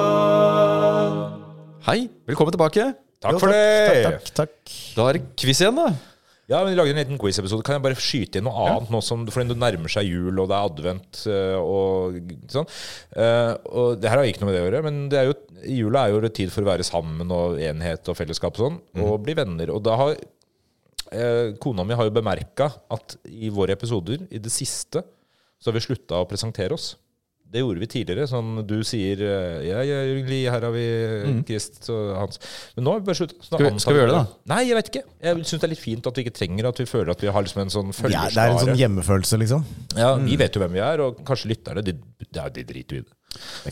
Religionsrådet. Hei, velkommen tilbake. Takk Jo, for det! Takk, takk, takk. Da er det quiz igjen, da. Ja, men Vi lagde en liten quiz-episode. Kan jeg bare skyte inn noe annet nå som fordi det nærmer seg jul, og det er advent eh, og sånn? Eh, og det her har ikke noe med det å gjøre, men det er jo, jula er jo en tid for å være sammen og enhet og fellesskap og sånn, og bli venner. Og da har eh, Kona mi har jo bemerka at i våre episoder, i det siste, så har vi slutta å presentere oss. Det gjorde vi tidligere. Sånn du sier eh, Jeg er Jørgen Lie, her har vi Krist og Hans. Men nå har vi bare sluttet. Mm. Skal vi- skal vi gjøre det, da? Nei, jeg vet ikke. Jeg syns det er litt fint at vi ikke trenger at vi føler at vi har liksom en sånn Ja, det er en sånn følgerskare. hjemmefølelse, liksom. Ja, Mm. vi vet jo hvem vi er, og kanskje lytterne de, ja, de driter jo i det.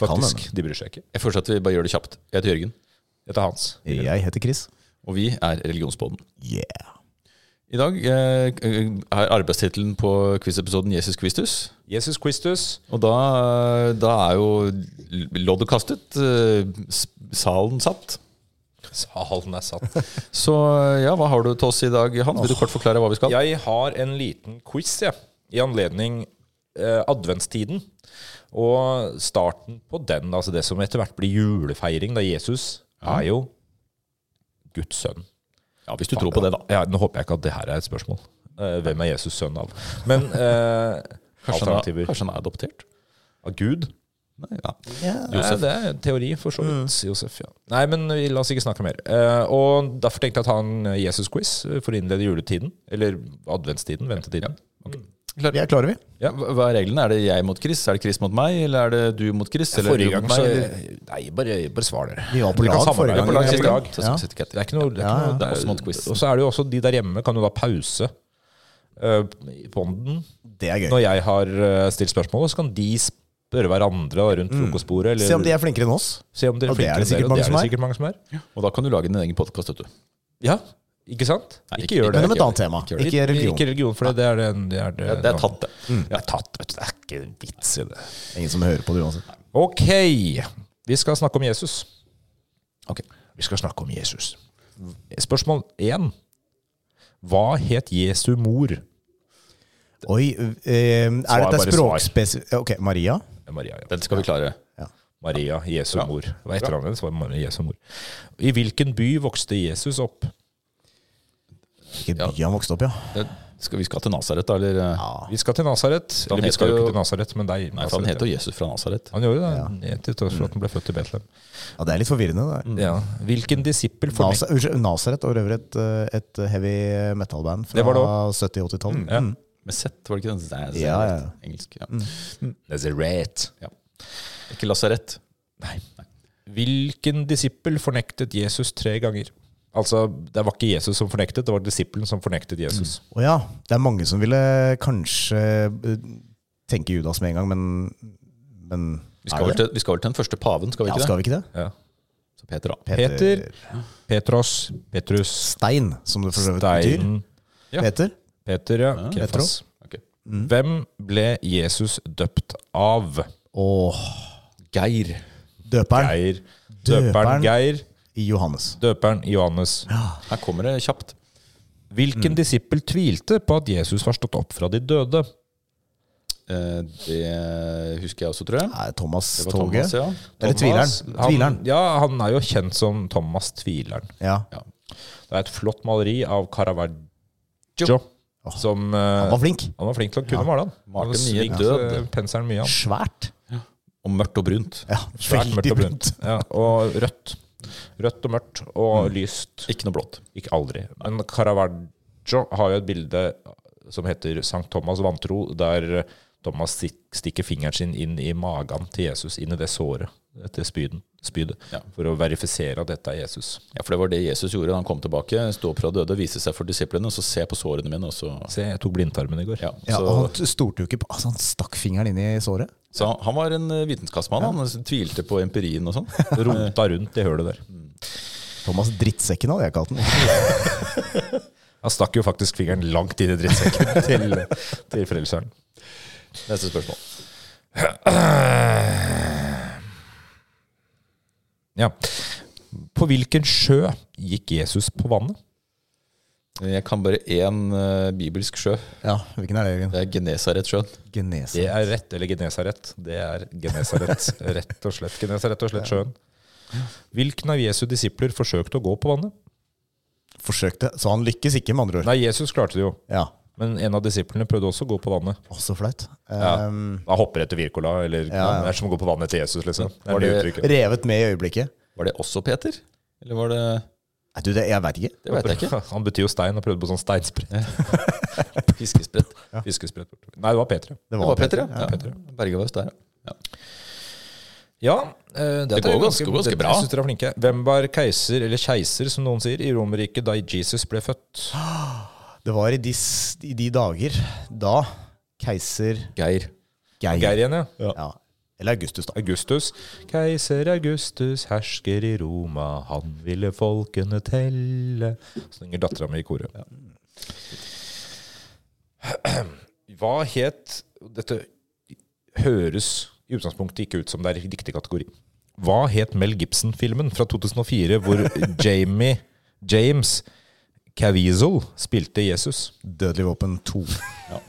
Faktisk. De bryr seg ikke. Jeg foreslår at vi bare gjør det kjapt. Jeg heter Jørgen, Jeg heter Hans. Jeg heter Chris. og vi er Religionsboden. Yeah. I dag eh, er arbeidstittelen på quiz-episoden 'Jesus Christus'. Jesus Christus. Og da, da er jo loddet kastet, eh, s- salen satt. Salen er satt. Så eh, ja, hva har du til oss i dag, Hans? Vil du kort forklare hva vi skal? Jeg har en liten quiz, jeg. I anledning eh, adventstiden. Og starten på den, altså det som etter hvert blir julefeiring, da Jesus er jo Guds sønn. Ja, Hvis du tror på det, da. Ja, nå håper jeg ikke at det her er et spørsmål. Eh, hvem er Jesus sønn av? Men eh, Kanskje han er, alternativer kanskje han er adoptert? av Gud? Nei, ja. Josef. det er en teori, for så vidt. Josef, ja. Nei, men vi- la oss ikke snakke mer. Eh, og Derfor tenkte jeg å ta en Jesus-quiz for å innlede juletiden. Eller adventstiden. Ventetiden. Vi er klare, vi. Ja, hva hva er reglene? Er det jeg mot Chris? Er det Chris mot meg? Eller er det du mot Chris? Eller Forrige du mot gang meg, så eller- Nei, bare, bare svar dere. Vi var på Vi kan lag samarbeide forrige gang. på lag sist gang. Så skal vi sitte og Det er ikke noe, det er Ja, ikke ja. noe Det er også mot quiz. Og så er det jo også de der hjemme kan jo da pause eh, på den. Det er gøy. Når jeg har eh, stilt spørsmål, så kan de spørre hverandre da, rundt frokostbordet. Eller, Mm. Se om de er flinkere enn oss. se om dere Og det flinkere er det enn dere, sikkert mange og det er. som er. det sikkert mange som Og er. da kan du lage din egen podkast, vet du. Ja, ikke sant? Nei, ikke, ikke- gjør det. Men om et ikke- annet tema. ikke gjør det. Ikke religion. Ikke religion, for det, det er det, det, er det, Ja, det er tatt, det. Det er tatt, vet du. Det er ikke en vits i det. Ingen som hører på det uansett. Ok, vi skal snakke om Jesus. Ok. Vi skal snakke om Jesus. Spørsmål én. Hva het Jesu mor? Oi, eh, er Svar, bare dette svar. språkspesifikt Ok, Maria? Maria, ja. Den skal vi klare. Maria, Jesu mor. Hva heter han? Så var det Maria, Jesu mor. I hvilken by vokste Jesus opp? Ikke by han vokste opp, ja. Det- Skal vi skal til Nasaret, da? Eller? ja. Vi skal til Nasaret. Han Eller vi heter skal jo jo- ikke til Nasaret, men deg. Nei, for han heter jo Jesus fra Nasaret. Han gjorde det, til tross for at han ble født i Betlehem. ja. Det er litt forvirrende. det Mm. der. Ja. Hvilken disippel fornektet Nas unnskyld, Nazareth og øvrig et, eh, et heavy metal-band fra Det var det 70-80-tallet. ja. Mm. Med Z, var det ikke den? Nei, Ja, ja. Mm. Engelsk. Ja. Nazaret. Ikke Lasarett. Nei. Hvilken disippel fornektet Jesus tre ganger? Altså, det var ikke Jesus som fornektet, det var disippelen som fornektet Jesus. Å ja, det er mange som ville kanskje eh, tenke Judas med en gang, men, men Vi skal, vel til, vi skal vel til den første paven, skal vi ja, ikke det? skal vi ikke det? Ja. Så Peter, da. Peter, Petros, Petrus, Stein, som det for så vidt betyr. Stein, Ja. Peter. Peter, ja. Kefas. Petros. Ok. Hvem ble Jesus døpt av? Og Geir. døperen Geir. Døperen Døperen. Geir, i Johannes. døperen Johannes. Her kommer det kjapt. Hvilken disippel tvilte på at Jesus var stått opp fra de døde? Eh, Det husker jeg også, tror jeg. Nei, Thomas Det var Thomas, Toget. ja. Eller Thomas, tvileren. han- Tvileren. Ja, han er jo kjent som Thomas Tvileren. Ja. ja. Det er et flott maleri av Caravaggio. Som, eh, Han var flink. Han var flink til å kunne male, han. Malte han mye svingt død. eh, penselen mye, han. Svært. Og mørkt og brunt. Ja, Svært mørkt veldig og brunt. brunt. Mm. Ja, og rødt. Rødt og mørkt og lyst. Ikke noe blått. Ikke aldri. Men Caravaggio har jo et bilde som heter Sankt Thomas vantro, der Thomas stik- stikker fingeren sin inn i magen til Jesus, inn i det såret etter spyden, spydet, Ja. for å verifisere at dette er Jesus. Ja, For det var det Jesus gjorde da han kom tilbake. Stå opp fra døde, vise seg for disiplene, og så se på sårene mine, og så Se, jeg tok blindtarmen i går. ja, Ja, så, og han stolte jo ikke på Altså, han stakk fingeren inn i såret. så han var en eh, vitenskapsmann. Han tvilte på empirien og sånn. Rota rundt i hølet der. Thomas Drittsekken hadde jeg kalt den. Han stakk jo faktisk fingeren langt inn i drittsekken til, til frelseren. Neste spørsmål. Ja. På hvilken sjø gikk Jesus på vannet? Jeg kan bare én eh, bibelsk sjø. Ja, Hvilken er det, Jørgen? Det er Genesaretsjøen. Genesa. Det er rett, eller Genesaret. Det er Genesaret, rett og slett. Genesaret og slett sjøen. Hvilken av Jesu disipler forsøkte å gå på vannet? Forsøkte, så han lykkes ikke, med andre ord. Nei, Jesus klarte det jo, Ja, men en av disiplene prøvde også å gå på vannet. Også flaut. Ja. Ehm, Da hopper etter Wirkola, eller Ja, ja. det er som å gå på vannet til Jesus, liksom. Det Var er det det- uttrykket. revet med i øyeblikket. Var det også Peter? Eller var det Nei, du, det, jeg veit ikke. Det veit jeg ikke. Han betyr jo stein, og prøvde på sånn steinsprett. Fiskesprett. Det Fiskesprett. Nei, det var Peter, ja. var Peter, ja. ja. ja. Berge var der, ja. Ja, eh, dette går er jo ganske- ganske bra. Jeg synes dere er flinke. Hvem var keiser, eller keiser som noen sier, i Romerriket da Jesus ble født? Det var i de, s- i de dager da keiser Geir. Geir, Geir igjen, ja. Ja. Eller Augustus, da. Augustus. Keiser Augustus hersker i Roma, han ville folkene telle Synger dattera mi i koret. Hva het Dette høres i utgangspunktet ikke ut som det er i riktig kategori. Hva het Mel Gibson-filmen fra 2004 hvor Jamie James Caviezel spilte Jesus? Dødelig våpen 2. Ja.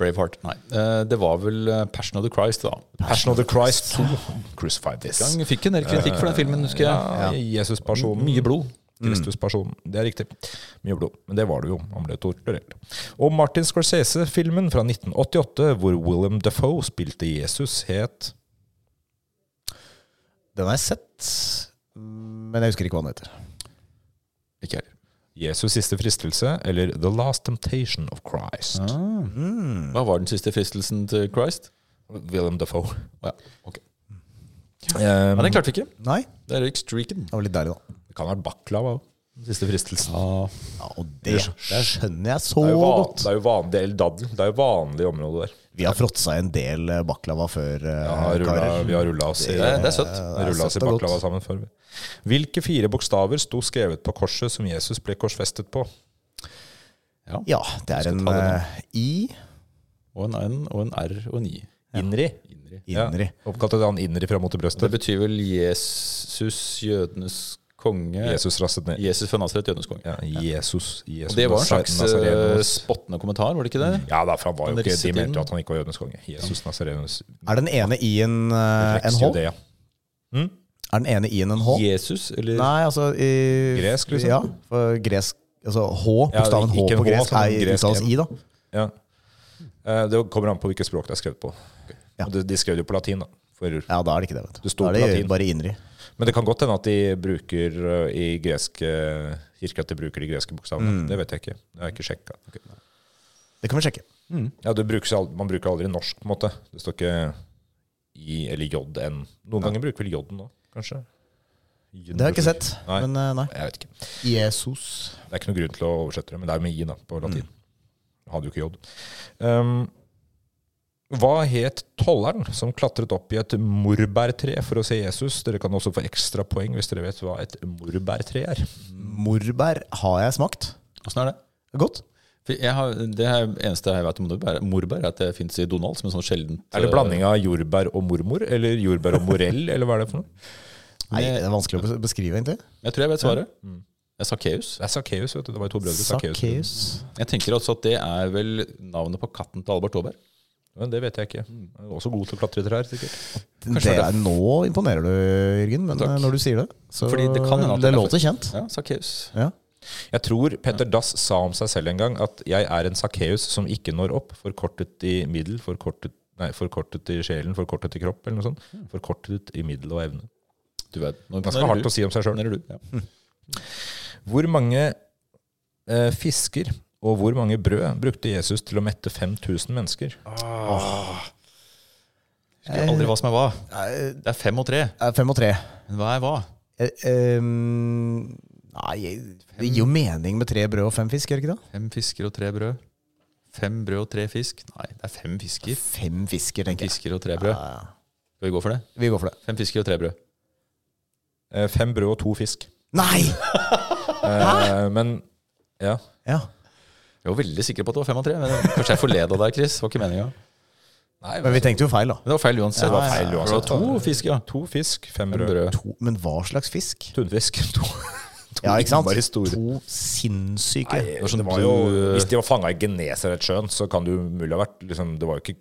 Braveheart. Nei. Eh, Det var vel eh, Passion of the Christ, da. Passion of the Christ 2. Crucified this. Gang fikk en del kritikk for den filmen, husker jeg. Ja, Jesus-personen. Mye blod. Kristus-personen. Det er riktig. Mye blod. Men det var det jo. Han ble torturert. Og Martin Scorsese-filmen fra 1988, hvor Willem Defoe spilte Jesus, het Den har jeg sett, men jeg husker ikke hva den heter. Ikke heller. Jesus' siste fristelse, eller The Last Temptation of Christ. Ah. Mm. Hva var den siste fristelsen til Christ? Willem Defoe. Å, ja. ok. Eh, Nei, den klarte vi ikke. Nei, det Der røyk streaken. var litt deilig, da. det kan ha vært baklava òg. Siste fristelsen. Ja. Ja, og det, det skjønner jeg så Det er jo, van, godt. det er jo vanlig eller daddel. Det er jo vanlig område der. Vi har fråtsa en del eh, baklava før, eh, Ja, rulla, karer. vi har rulla oss i Det, er- det er søtt. Vi rulla oss i søtt og baklava sammen før. vi. Hvilke fire bokstaver sto skrevet på korset som Jesus ble korsfestet på? Ja, det er skal en ta det nå. eh, I. Og en N og en R og en I. Inri. Inri. Inri. Ja, oppkalt etter han Inri fra Mot i Det brøstet. betyr vel Jesus, jødenes konge. Jesus, Jesus rasset ned. fra Nazaret, jødenes konge. Ja, Jesus, Jesus Og det var en Nasa- slags eh, Nazarenos. spottende kommentar, var det ikke det? Ja da, for han var Han jo ikke risset De inn. mente jo at han ikke var jødenes konge. Jesus Nazarenus Er den ene I-en eh, en H? Judea. Er den ene I-en en H? Jesus, eller Nei, altså i, Gresk, liksom? Ja, for gresk Altså H, Ja, bokstaven H ikke en på H, gresk sånn er gresk uttales igjen. I, da. Ja. Eh, Det kommer an på hvilket språk det er skrevet på. Ja. Og det- De skrev det jo på latin, da. For Ja, da er det ikke det, vet du. Det står da på er det latin. bare Inri. Men det kan godt hende at de bruker eh, i greske kirker at de bruker de greske bokstavene. Mm. Det vet jeg ikke. Det har jeg ikke sjekka. Det kan vi sjekke. Ja, det brukes, al- man bruker aldri norsk, på en måte. Det står ikke i eller JN. Noen ganger bruker vel J-en òg, kanskje. Det har jeg ikke sett. Nei. Men eh, nei. Jeg vet ikke. Jesus. Det er ikke noen grunn til å oversette det, men det er jo med I da, Mm. på latin. Hadde jo ikke J. Um, hva het tolleren som klatret opp i et morbærtre for å se Jesus? Dere kan også få ekstra poeng hvis dere vet hva et morbærtre er. Mm. Morbær har jeg smakt. åssen er det? Godt. For jeg har, det er eneste jeg vet om morbær, morbær er at det fins i Donald som en sånn sjeldent Er det blanding av jordbær og mormor, eller jordbær og morell, eller hva er det for noe? Nei, det er vanskelig å bes- beskrive, egentlig. Jeg tror jeg vet svaret. Det er Sakkeus. Det er Sakkeus, vet du. Det var jo to brødre. Sakkeus. Sakkeus. Jeg tenker også at det er vel navnet på katten til Albert Aaberg. Men det vet jeg ikke. Jeg Mm. er også god til å klatre i trær, sikkert. Det er, nå imponerer du, Jørgen, men Takk. eh, når du sier det, så Fordi det kan hende at det er derfor. låter kjent. Ja, Sakkeus. Ja. Jeg tror Petter Dass sa om seg selv en gang at 'jeg er en Sakkeus som ikke når opp', forkortet i middel, forkortet Nei, forkortet i sjelen, forkortet i kropp, eller noe sånt. Forkortet i middel og evne. Du vet. Nå Ganske hardt å si om seg sjøl. du. Ja. Hvor mange eh, fisker og hvor mange brød brukte Jesus til å mette 5000 mennesker? Husker jeg aldri hva som er hva. Eh, Det er fem og tre. eh, Fem og tre. Men hva er hva? Eh, eh, Nei, det gir jo mening med tre brød og fem fisk, gjør det ikke det? Fem fisker og tre brød. Fem brød og tre fisk. Nei, det er fem fisker. Fem fisker, tenker jeg. Fisker og tre brød. Ja, ja. Skal vi gå for det? Vi går for det. Fem fisker og tre brød. Eh, fem brød og to fisk. Nei! Eh, men ja. Ja. Jeg var veldig sikker på at det var fem og tre, men kanskje jeg forleda deg, Chris. Det var ikke meningen. Nei, Men vi tenkte jo feil, da. Men det var feil uansett. Det var feil For uansett. Det var to fisk, ja. To fisk, fem Fem brød. brød. To, men hva slags fisk? Tunfisk. To, Ja, ikke sant? innmari store. To sinnssyke. Nei, var sånn det var jo, du- hvis de var fanga i Genesaretsjøen, så kan det umulig ha vært liksom, Det var jo ikke,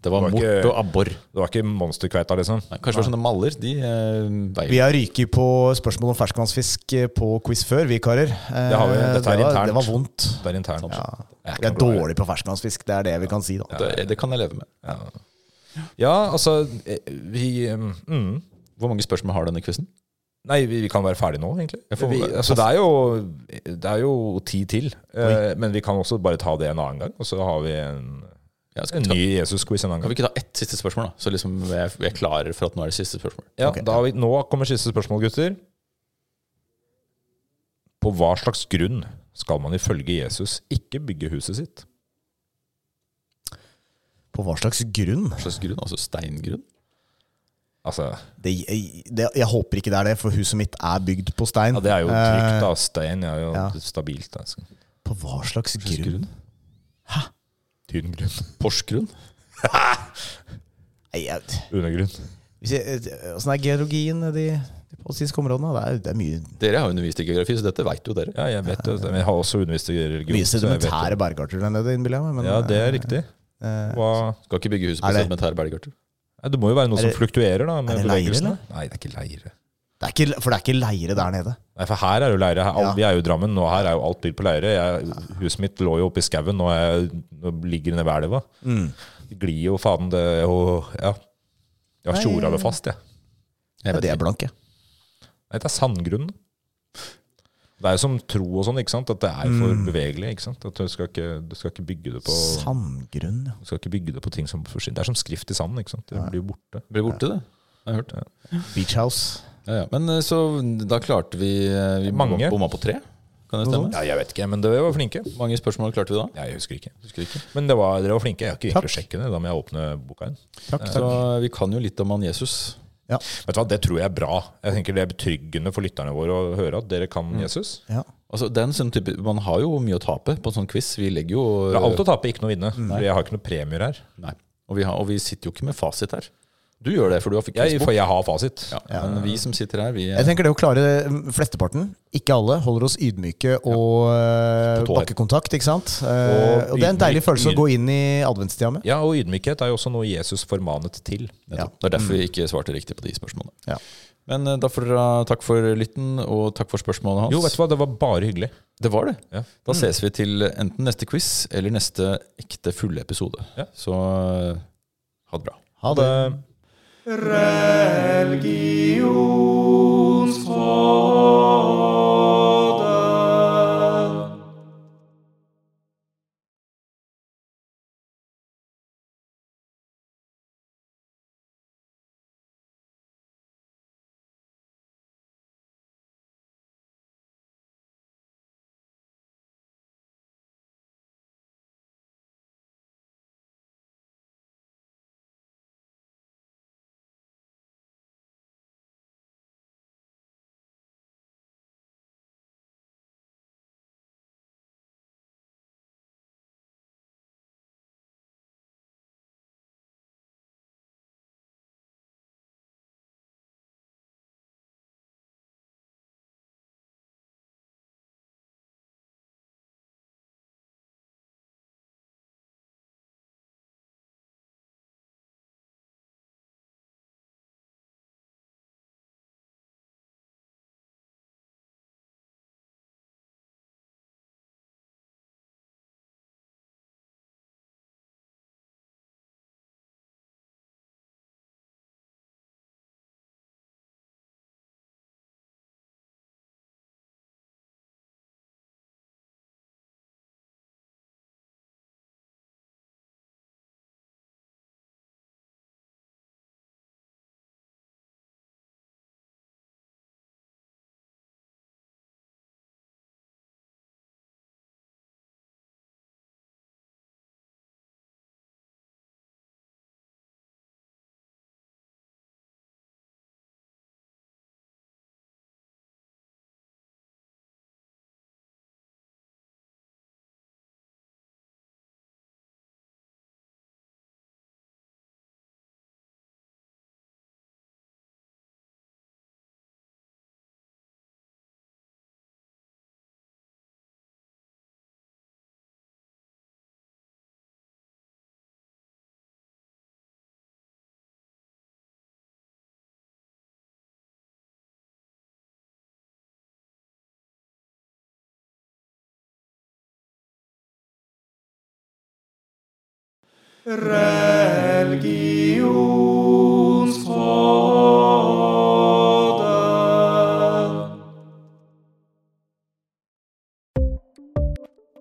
Det var Det var mort ikke- og abbor. Nei, det var ikke monsterkveita, liksom. Kanskje det var sånne maller. De eh, veier Vi har ryket på spørsmål om ferskvannsfisk eh, på quiz før, vi karer. Det har vi. Dette er det var, internt. det var vondt. Det er internt. Sånn. Ja. Det er Vi ikke er noe bra. dårlig på ferskvannsfisk, det er det vi kan si. da. Det, det kan jeg leve med. Ja, altså eh, Vi eh, mm. Hvor mange spørsmål har denne quizen? Nei, vi, vi kan være ferdige nå, egentlig. Jeg får- vi, altså, det, er jo, det er jo ti til. eh, men vi kan også bare ta det en annen gang, og så har vi en, Ja, skal, en skal, ny Jesus-quiz en annen kan gang. vi ikke ta ett siste spørsmål, da? Så liksom jeg, jeg klarer for at nå er det siste spørsmål. Ja, Ok. da har vi, nå kommer siste spørsmål, gutter. På hva slags grunn skal man ifølge Jesus ikke bygge huset sitt? På hva slags grunn? Hva slags grunn? Altså steingrunn? Altså, Det, jeg, det, jeg håper ikke det er det, for huset mitt er bygd på stein. ja, det er jo Eh, trygt, da. Stein er jo ja. stabilt. altså. Da. På hva slags grunn? Tynn grunn. Porsgrunn? Nei, jeg, Undergrunn. hvis jeg, eh, Åssen er geologien nede i de palestinske områdene? Det er, det er mye, Dere har undervist i geografi, så dette veit jo dere. Ja, jeg vet det. Men jeg har også undervist i religion. mye så jeg vet det. sedimentære bergarter der nede, innbiller jeg meg. men, Ja, det er eh, riktig. eh, Hva Skal ikke bygge huset på Er det- sedimentære bergarter. Nei, det må jo være noe Er det- som fluktuerer, da. Med er det leire, bevegelsene. eller? Nei, det er ikke leire. Det er ikke, for det er ikke leire der nede. Nei, for her er jo leire. Her, Ja. Vi er jo i Drammen, og her er jo alt bygd på leire. Jeg, huset mitt lå jo oppe i skauen, og jeg nå ligger nede ved elva. Det glir jo faen det og, Ja. Jeg har tjora det fast, jeg. Jeg Ja, vet det er ikke. blanke. Nei, det er sandgrunn. Det er jo som tro og sånn, ikke sant? At det er for bevegelig. ikke sant? At du skal ikke, du skal ikke bygge det på Sandgrunn, ja. du skal ikke bygge det på ting som forsvinner. Det er som skrift i sanden. ikke sant? Det blir jo borte. Blir borte, det. Jeg har hørt. Beach house. Ja, ja. Men eh, så da klarte vi, eh, vi Mange. bomma- Bomma på tre, kan det stemme? Ja, jeg vet ikke, men dere var flinke. Mange spørsmål klarte vi da. Jeg husker ikke. Husker ikke. Men det var, dere var flinke. Jeg har ikke egentlig Takk. sjekket det. Da må jeg åpne boka igjen. Takk, Så eh, vi kan jo litt om han Jesus. Vet du hva, Det tror jeg er bra. Jeg tenker Det er betryggende for lytterne våre å høre at dere kan Jesus. Ja. Altså, den sånn type, Man har jo mye å tape på en sånn quiz. Vi legger jo Det er alt å tape, ikke noe å vinne. For jeg har ikke noe premier her. Nei. Og, vi har, og vi sitter jo ikke med fasit her. Du gjør det, for du har fikk Jeg, quizbok. for jeg har fasit. Ja, men vi som sitter her, vi eh, Jeg tenker det å klare mm, flesteparten, ikke alle, holder oss ydmyke og eh, På tå her. bakkekontakt. ikke sant? Eh, Og og det er en deilig ydmyk- følelse å gå inn i adventstida med. Ja, og ydmykhet er jo også noe Jesus formanet til. Nettopp. Det er derfor vi ikke svarte riktig på de spørsmålene. Mm. Ja. Men eh, da får dere ha takk for lytten, og takk for spørsmålene hans. Jo, vet du hva, det var bare hyggelig. Det var det. Ja. Da ses vi til enten neste quiz eller neste ekte fulle episode. Ja. Så eh, ha det bra. Ha det.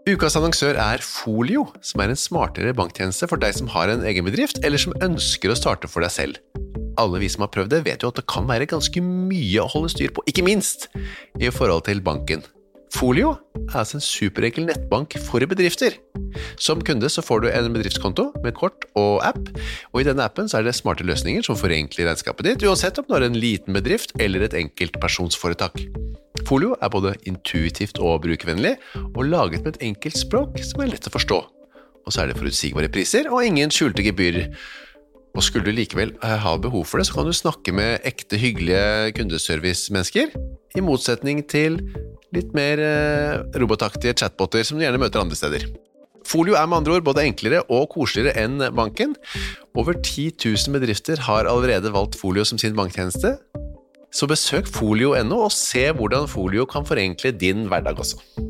Ukas annonsør er Folio, som er en smartere banktjeneste for deg som har en egen bedrift, eller som ønsker å starte for deg selv. Alle vi som har prøvd det, vet jo at det kan være ganske mye å holde styr på, ikke minst i forhold til banken. Folio er altså en superenkel nettbank for bedrifter. Som kunde så får du en bedriftskonto med kort og app, og i denne appen så er det smarte løsninger som forenkler regnskapet ditt, uansett om du er en liten bedrift eller et enkeltpersonsforetak. Folio er både intuitivt og brukervennlig, og laget med et enkelt språk som er lett å forstå. Og så er det forutsigbare priser og ingen skjulte gebyrer. Og skulle du likevel eh, ha behov for det, så kan du snakke med ekte hyggelige kundeservice-mennesker, i motsetning til litt mer eh, robotaktige chatboter som du gjerne møter andre steder. Folio er med andre ord både enklere og koseligere enn banken. Over 10 000 bedrifter har allerede valgt Folio som sin banktjeneste, så besøk folio.no og se hvordan folio kan forenkle din hverdag også.